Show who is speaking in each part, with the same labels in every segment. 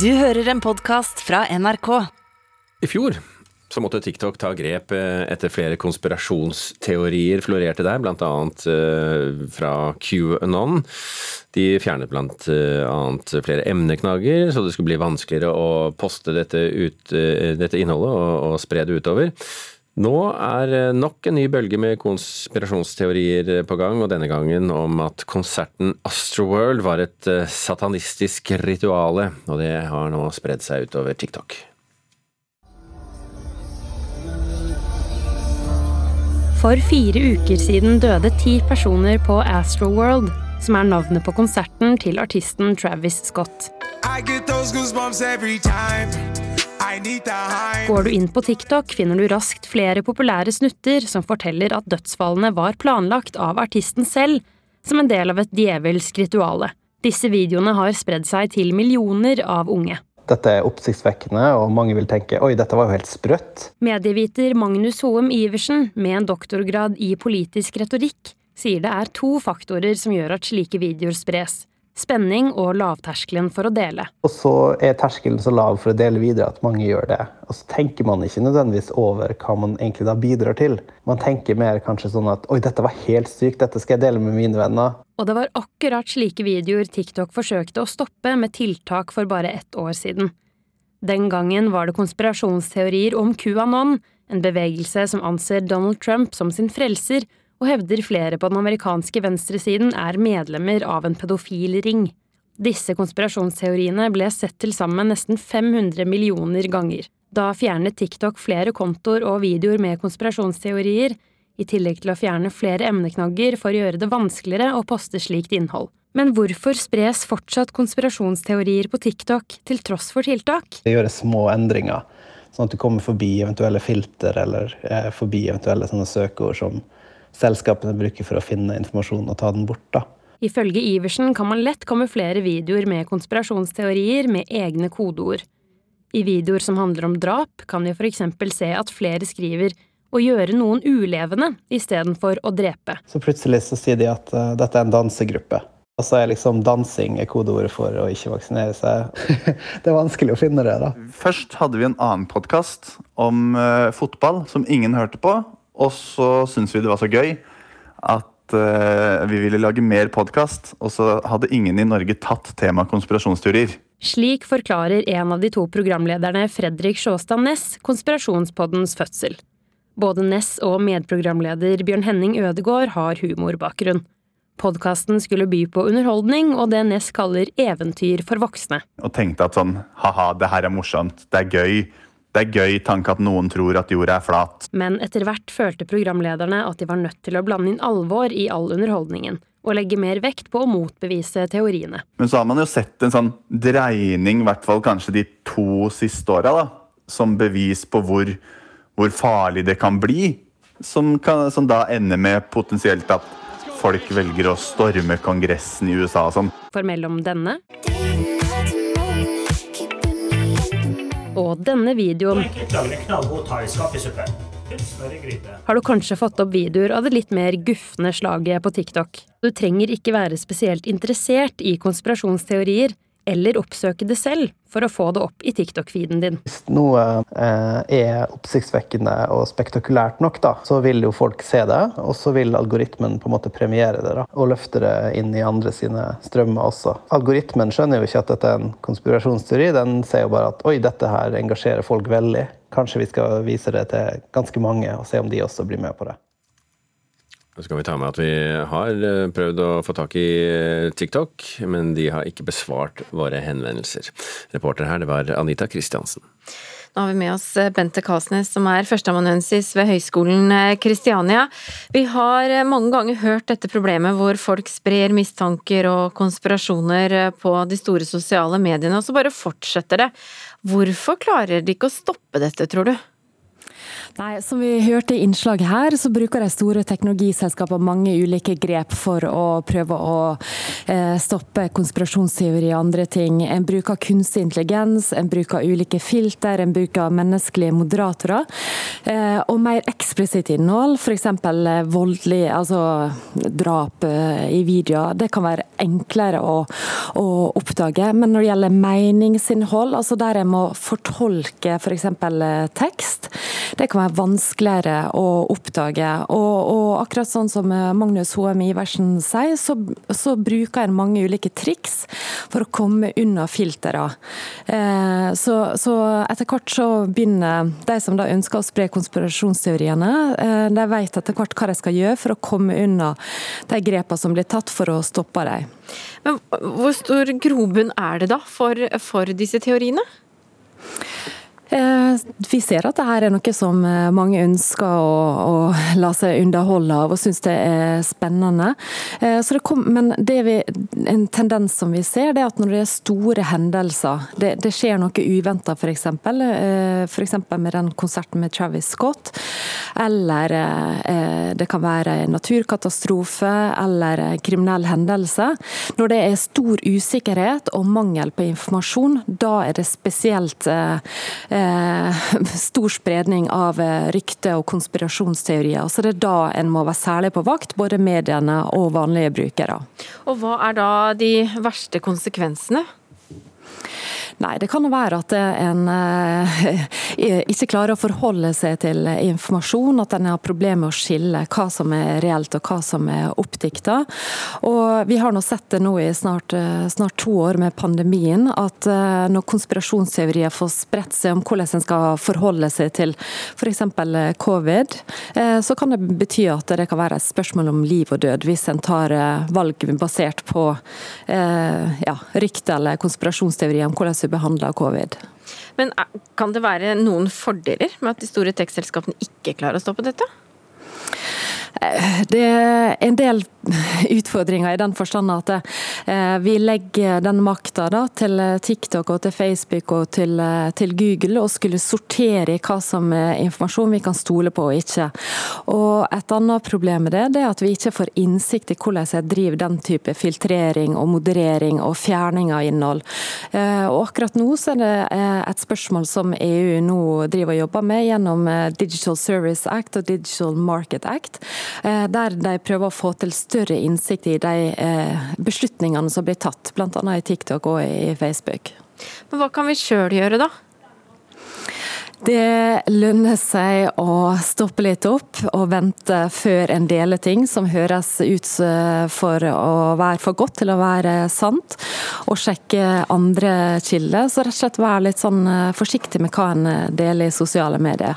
Speaker 1: Du hører en podkast fra NRK.
Speaker 2: I fjor så måtte TikTok ta grep eh, etter flere konspirasjonsteorier florerte der, bl.a. fra QAnon. De fjernet bl.a. flere emneknagger, så det skulle bli vanskeligere å poste dette, ut, eh, dette innholdet og, og spre det utover. Nå er eh, nok en ny bølge med konspirasjonsteorier eh, på gang, og denne gangen om at konserten Astroworld var et eh, satanistisk rituale, og det har nå spredd seg utover TikTok.
Speaker 3: For fire uker siden døde ti personer på Astroworld, som er navnet på konserten til artisten Travis Scott.
Speaker 4: I get those goosebumps every time. I need the high.
Speaker 3: Går du inn på TikTok, finner du raskt flere populære snutter som forteller at dødsfallene var planlagt av artisten selv, som en del av et djevelsk rituale. Disse videoene har spredd seg til millioner av unge.
Speaker 5: Dette er oppsiktsvekkende, og mange vil tenke oi, dette var jo helt sprøtt.
Speaker 3: Medieviter Magnus Hoem Iversen, med en doktorgrad i politisk retorikk, sier det er to faktorer som gjør at slike videoer spres. Spenning og lavterskelen for å dele.
Speaker 5: Og så er terskelen så lav for å dele videre at mange gjør det. Og så tenker man ikke nødvendigvis over hva man egentlig da bidrar til. Man tenker mer kanskje sånn at oi, dette var helt sykt, dette skal jeg dele med mine venner.
Speaker 3: Og det var akkurat slike videoer TikTok forsøkte å stoppe med tiltak for bare ett år siden. Den gangen var det konspirasjonsteorier om QAnon, en bevegelse som anser Donald Trump som sin frelser, og hevder flere på den amerikanske venstresiden er medlemmer av en pedofil ring. Disse konspirasjonsteoriene ble sett til sammen nesten 500 millioner ganger. Da fjernet TikTok flere kontoer og videoer med konspirasjonsteorier, i tillegg til å fjerne flere emneknagger for å gjøre det vanskeligere å poste slikt innhold. Men hvorfor spres fortsatt konspirasjonsteorier på TikTok til tross for tiltak?
Speaker 5: Det gjøres små endringer, sånn at du kommer forbi eventuelle filter eller eh, forbi eventuelle sånne søkeord som selskapene bruker for å finne informasjon og ta den bort. da.
Speaker 3: Ifølge Iversen kan man lett kamuflere videoer med konspirasjonsteorier med egne kodeord. I videoer som handler om drap, kan vi f.eks. se at flere skriver 'å gjøre noen ulevende' istedenfor 'å drepe'.
Speaker 5: Så plutselig så sier de at eh, dette er en dansegruppe. Og så er liksom dansing er kodeordet for å ikke vaksinere seg. det er vanskelig å finne det, da.
Speaker 6: Først hadde vi en annen podkast om eh, fotball som ingen hørte på. Og så syntes vi det var så gøy at eh, vi ville lage mer podkast. Og så hadde ingen i Norge tatt temaet konspirasjonsteorier.
Speaker 3: Slik forklarer en av de to programlederne, Fredrik Sjåstad Næss, konspirasjonspoddens fødsel. Både Næss og medprogramleder Bjørn Henning Ødegård har humorbakgrunn. Podkasten skulle by på underholdning og det Næss kaller eventyr for voksne.
Speaker 6: Og tenkte at sånn ha-ha, det her er morsomt. Det er gøy. Det er gøy tanke at noen tror at jorda er flat.
Speaker 3: Men etter hvert følte programlederne at de var nødt til å blande inn alvor i all underholdningen, og legge mer vekt på å motbevise teoriene.
Speaker 6: Men så har man jo sett en sånn dreining, i hvert fall kanskje de to siste åra, da, som bevis på hvor, hvor farlig det kan bli. Som, kan, som da ender med potensielt at folk velger å storme Kongressen i USA og sånn.
Speaker 3: For mellom denne og denne videoen
Speaker 7: Enkelt lager en knallgod thaiskaffesuppe. Til smør i gryte.
Speaker 3: har du kanskje fått opp videoer av det litt mer gufne slaget på TikTok. Du trenger ikke være spesielt interessert i konspirasjonsteorier eller oppsøke det selv for å få det opp i TikTok-feeden din.
Speaker 5: Hvis noe eh, er oppsiktsvekkende og spektakulært nok, da, så vil jo folk se det, og så vil algoritmen på en måte premiere det da, og løfte det inn i andre sine strømmer også. Algoritmen skjønner jo ikke at dette er en konspirasjonsteori, den ser jo bare at oi, dette her engasjerer folk veldig. Kanskje vi skal vise det til ganske mange og se om de også blir med på det.
Speaker 2: Så skal vi ta med at vi har eh, prøvd å få tak i eh, TikTok, men de har ikke besvart våre henvendelser. Reporter her, det var Anita Kristiansen.
Speaker 8: Nå har vi med oss eh, Bente Kasnes, som er førsteamanuensis ved Høgskolen eh, Kristiania. Vi har eh, mange ganger hørt dette problemet hvor folk sprer mistanker og konspirasjoner eh, på de store sosiale mediene, og så bare fortsetter det. Hvorfor klarer de ikke å stoppe dette, tror du?
Speaker 9: Nei, Som vi hørte i innslaget her, så bruker de store teknologiselskapene mange ulike grep for å prøve å eh, stoppe konspirasjonsteorier og andre ting. En bruker kunstig intelligens, en bruker ulike filter, en bruker menneskelige moderatorer. Eh, og mer eksplisitt innhold, f.eks. voldelig, altså drap eh, i videoer. Det kan være enklere å, å oppdage. Men når det gjelder meningsinnhold, altså der en må fortolke f.eks. For eh, tekst, det kan være vanskeligere å oppdage. Og, og akkurat sånn som Magnus Hoem Iversen sier, så, så bruker en mange ulike triks for å komme unna filtrene. Eh, så, så etter hvert så begynner de som da ønsker å spre konspirasjonsteoriene, eh, de vet etter hvert hva de skal gjøre for å komme unna de grepene som blir tatt for å stoppe dem.
Speaker 10: Men hvor stor grobunn er det da for, for disse teoriene?
Speaker 9: Eh, Vi ser at det her er noe som eh, mange ønsker å, å la seg underholde av og synes det er spennende. Eh, Så det kom, men det vi, en tendens som vi ser, det er at når det er store hendelser, det, det skjer noe uventa f.eks., Eh, f.eks. med den konserten med Travis Scott, eller eh, det kan være en naturkatastrofe eller en kriminell hendelse. Når det er stor usikkerhet og mangel på informasjon, da er det spesielt eh, eh, stor spredning av eh, rykter og konspirasjonsteorier. Så det er da en må være særlig på vakt, både mediene og vanlige brukere.
Speaker 10: Og hva er da de verste konsekvensene?
Speaker 9: Nei, det kan jo være at en eh, ikke klarer å forholde seg til informasjon. At en har problemer med å skille hva som er reelt og hva som er oppdikta. Og vi har nå sett det nå i snart, eh, snart to år med pandemien, at eh, når konspirasjonsteorier får spredt seg om hvordan en skal forholde seg til f.eks. covid, eh, så kan det bety at det kan være et spørsmål om liv og død hvis en tar eh, valg basert på eh, ja, rykter eller konspirasjonsteorier om hvordan vi behandler covid.
Speaker 10: Men er- kan det være noen fordeler med at de store tekstselskapene ikke klarer å stoppe dette?
Speaker 9: Eh, Det er en del utfordringer i den forstand at eh, vi legger den makta da til eh, TikTok og til Facebook og til, eh, til Google og skulle sortere i hva som er informasjon vi kan stole på og ikke. Og et annet problem med det, det er at vi ikke får innsikt i hvordan jeg driver den type filtrering og moderering og fjerning av innhold. Eh, Og akkurat nå så er det eh, et spørsmål som EU nå driver og jobber med gjennom eh, Digital Service Act og Digital Market Act, eh, der de prøver å få til større innsikt i de eh, beslutningene som blir tatt, bl.a. i TikTok og i Facebook.
Speaker 10: Men hva kan vi sjøl gjøre, da?
Speaker 9: Det lønner seg å stoppe litt opp og vente før en deler ting som høres ut for å være for godt til å være sant, og sjekke andre kilder. Så rett og slett være litt sånn eh, forsiktig med hva en eh, deler i sosiale medier.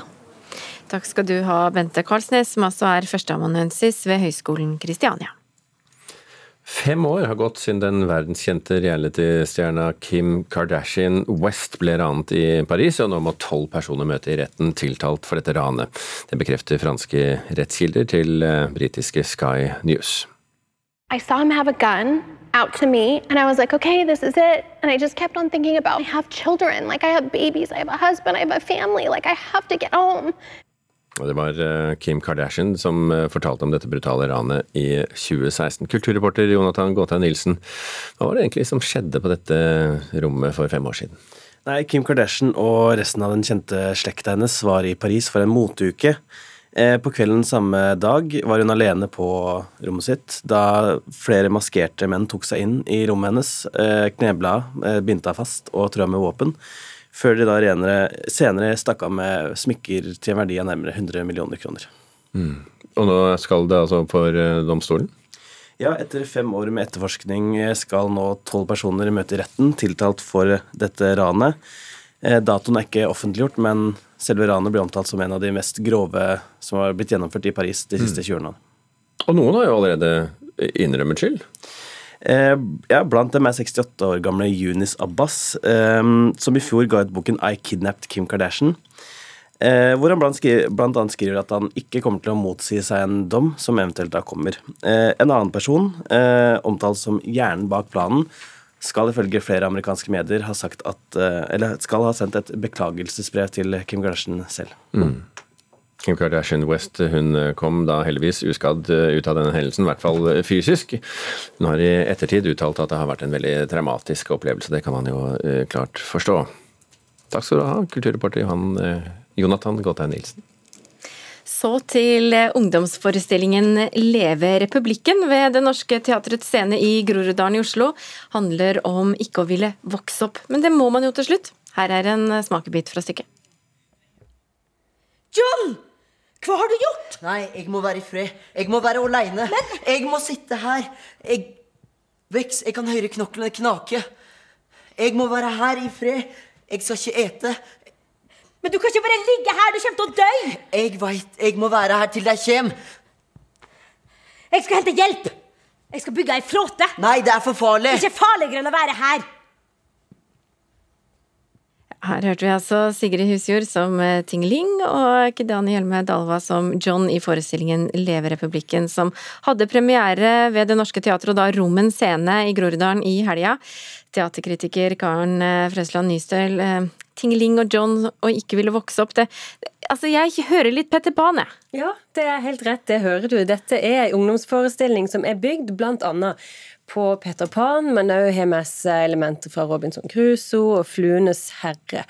Speaker 10: Takk skal du ha, Bente Karlsnes, som altså er førsteamanuensis ved Høgskolen Kristiania.
Speaker 2: Fem år har gått siden den verdenskjente reality-stjerna Kim Kardashian West ble ranet i Paris, og nå må tolv personer møte i retten tiltalt for dette ranet. Det bekrefter franske rettskilder til eh, britiske Sky News.
Speaker 11: I saw him have a gun out to me, and I was like, okay, this is it. And I just kept on thinking about, I have children, like I have babies, I have a husband, I have a family, like I have to get home.
Speaker 2: Og det var eh, Kim Kardashian som eh, fortalte om dette brutale ranet i 2016. Kulturreporter Jonathan Gåtheim Nilsen, hva var det egentlig som skjedde på dette rommet for fem år siden?
Speaker 5: Nei, Kim Kardashian og resten av den kjente slekta hennes var i Paris for en moteuke. Eh, På kvelden samme dag var hun alene på rommet sitt da flere maskerte menn tok seg inn i rommet hennes, eh, knebla, eh, bindt henne fast og trua med våpen, før de da renere, senere stakk av med smykker til en verdi av nærmere 100 millioner kroner.
Speaker 2: Og nå skal det altså for eh, domstolen?
Speaker 5: Ja, etter fem år med etterforskning eh, skal nå tolv personer møte i retten, tiltalt for dette ranet. Eh, Datoen er ikke offentliggjort, men selve ranet blir omtalt som en av de mest grove som har blitt gjennomført i Paris de siste 20 årene.
Speaker 2: Og noen har jo allerede innrømmet skyld.
Speaker 5: Eh, ja, blant dem er 68 år gamle Yunis Abbas, eh, som i fjor ga ut boken I Kidnapped Kim Kardashian. Eh, hvor han blant, skri blant annet skriver at han ikke kommer til å motsi seg en dom som eventuelt da kommer. Eh, en annen person, eh, omtalt som hjernen bak planen, skal ifølge flere amerikanske medier ha sagt at eh, Eller skal ha sendt et beklagelsesbrev til Kim Kardashian selv.
Speaker 2: Kim Kardashian West hun eh, kom da heldigvis uskadd eh, ut av denne hendelsen, i hvert fall eh, fysisk. Hun har i ettertid uttalt at det har vært en veldig traumatisk opplevelse. Det kan man jo eh, klart forstå. Takk skal du ha, kulturreporter Johan, eh, Jonathan Gotheim Nilsen.
Speaker 8: Så til eh, ungdomsforestillingen Leve republikken ved Det Norske Teatrets scene i Groruddalen i Oslo. Handler om ikke å ville vokse opp, men det må man jo til slutt. Her er en smakebit fra stykket.
Speaker 12: John! Hva har du gjort? Nei, jeg må være i fred. Jeg må være aleine. Jeg må sitte her. Jeg Vex, jeg kan høre knoklene knake. Jeg må være her i fred. Jeg skal ikke ete.
Speaker 13: Men du kan ikke bare ligge her, du kommer til å dø!
Speaker 12: Jeg veit jeg må være her til de kommer.
Speaker 13: Jeg skal hente hjelp! Jeg skal bygge ei flåte.
Speaker 12: Nei, det er for farlig.
Speaker 13: Det er ikke farligere enn å være her.
Speaker 8: Her hørte vi altså Sigrid Husjord som eh, Ting Ling, og Kidani Hjelme Dalva som John i forestillingen Leve republikken, som hadde premiere ved Det Norske Teatret, og da Rommen Scene i Groruddalen i helga. Teaterkritiker Karen eh, Frøsland Nystøl, eh, Ting Ling og John og ikke ville vokse opp, det Altså, jeg hører litt Petter Pan, jeg.
Speaker 9: Ja, det er helt rett, det hører du. Dette er en ungdomsforestilling som er bygd bl.a. på Peter Pan, men òg har med seg elementer fra Robinson Crusoe og Fluenes herre.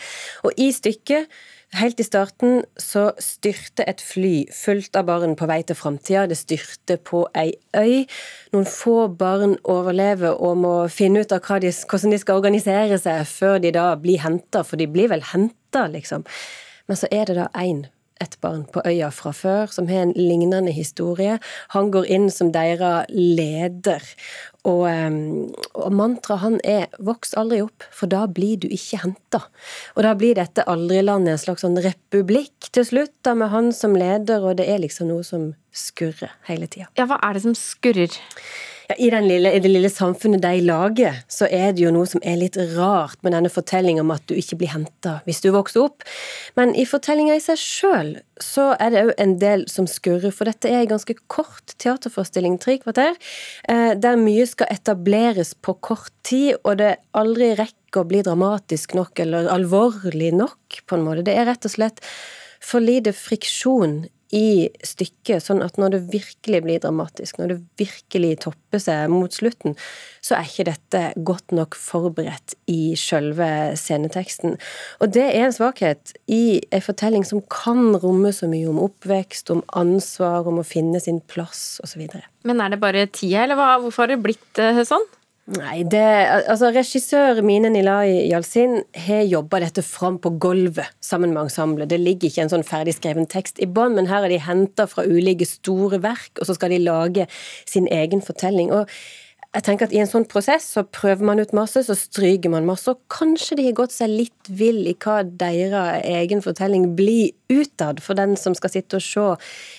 Speaker 9: Og i stykket Helt i starten så styrte et fly fullt av barn på vei til framtida. Det styrte på ei øy. Noen få barn overlever og må finne ut av hva de, hvordan de skal organisere seg før de da blir henta, for de blir vel henta, liksom. Men så er det da én, et barn på øya fra før, som har en lignende historie. Han går inn som deres leder. Og, em, og mantraet han er 'voks aldri opp, for da blir du ikke henta'. Og da blir dette aldrilandet en slags sånn republikk til slutt, da med han som leder, og det er liksom noe som skurrer hele tida.
Speaker 8: Ja, hva er det som skurrer?
Speaker 9: Ja, i, den lille, I det lille samfunnet de lager, så er det jo noe som er litt rart med denne fortellingen om at du ikke blir henta hvis du vokser opp. Men i fortellinga i seg sjøl så er det òg en del som skurrer, for dette er en ganske kort teaterforestilling, tre kvarter, eh, der mye skal etableres på kort tid, og det aldri rekker å bli dramatisk nok eller alvorlig nok, på en måte. Det er rett og slett for lite friksjon i stykket, sånn at når det virkelig blir dramatisk, når det virkelig topper seg mot slutten, så er ikke dette godt nok forberedt i sjølve sceneteksten. Og det er en svakhet i ei fortelling som kan romme så mye om oppvekst, om ansvar, om å finne sin plass, osv.
Speaker 8: Men er det bare tida, eller hva? hvorfor har det blitt eh, sånn?
Speaker 9: Nei, det Altså, regissør Mine Nilay Jalsin har jobba dette fram på gulvet sammen med ensemblet. Det ligger ikke en sånn ferdigskreven tekst i bånn, men her er de henta fra ulike store verk, og så skal de lage sin egen fortelling. Og jeg tenker at I en sånn prosess så prøver man ut masse, så stryker man masse. Og kanskje de har gått seg litt vill i hva deres egen fortelling blir utad for den som skal sitte og se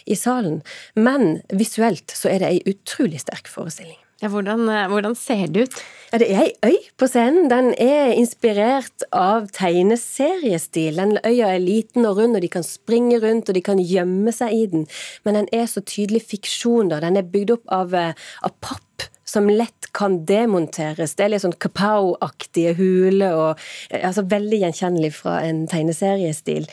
Speaker 9: i salen. Men visuelt så er det ei utrolig sterk forestilling.
Speaker 8: Ja, hvordan, eh, hvordan ser det ut?
Speaker 9: Ja, det er ei øy på scenen. Den er inspirert av tegneseriestil. Den øya er liten og rund, og de kan springe rundt, og de kan gjemme seg i den. Men den er så tydelig fiksjon, da. Den er bygd opp av, eh, av papp. Som lett kan demonteres. Det er litt sånn kapow-aktige huler og eh, altså Veldig gjenkjennelig fra en tegneseriestil.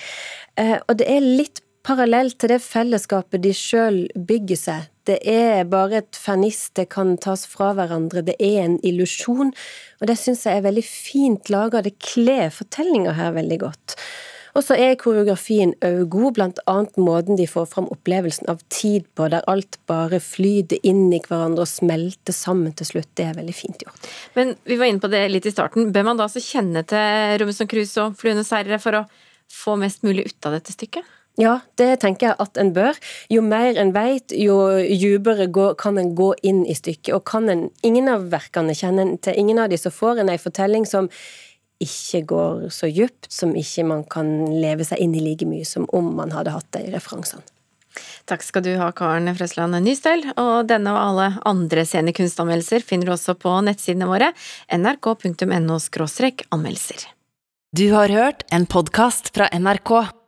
Speaker 9: Eh, og det er litt parallelt til det fellesskapet de sjøl bygger seg. Det er bare et ferniss, det kan tas fra hverandre, det er en illusjon. Og det syns jeg er veldig fint laga, det kler fortellinga her veldig godt. Og så er koreografien òg god, blant annet måten de får fram opplevelsen av tid på, der alt bare flyter inn i hverandre og smelter sammen til slutt. Det er veldig fint gjort.
Speaker 8: Men vi var inne på det litt i starten. Bør man da altså kjenne til Robinson Crusoe og Fluenes herre for å få mest mulig ut av dette stykket?
Speaker 9: Ja, det tenker jeg at en bør. Jo mer en vet, jo dypere gå- kan en gå inn i stykket. Og kan en ingen av verkene kjenne en til ingen av de, så får en ei fortelling som ikke går så djupt, som ikke man kan leve seg inn i like mye som om man hadde hatt de referansene.
Speaker 8: Takk skal du ha, Karen Frøsland Nystøl. Og denne og alle andre scenekunstanmeldelser finner du også på nettsidene våre nrk.no anmeldelser.
Speaker 1: Du har hørt en podkast fra NRK.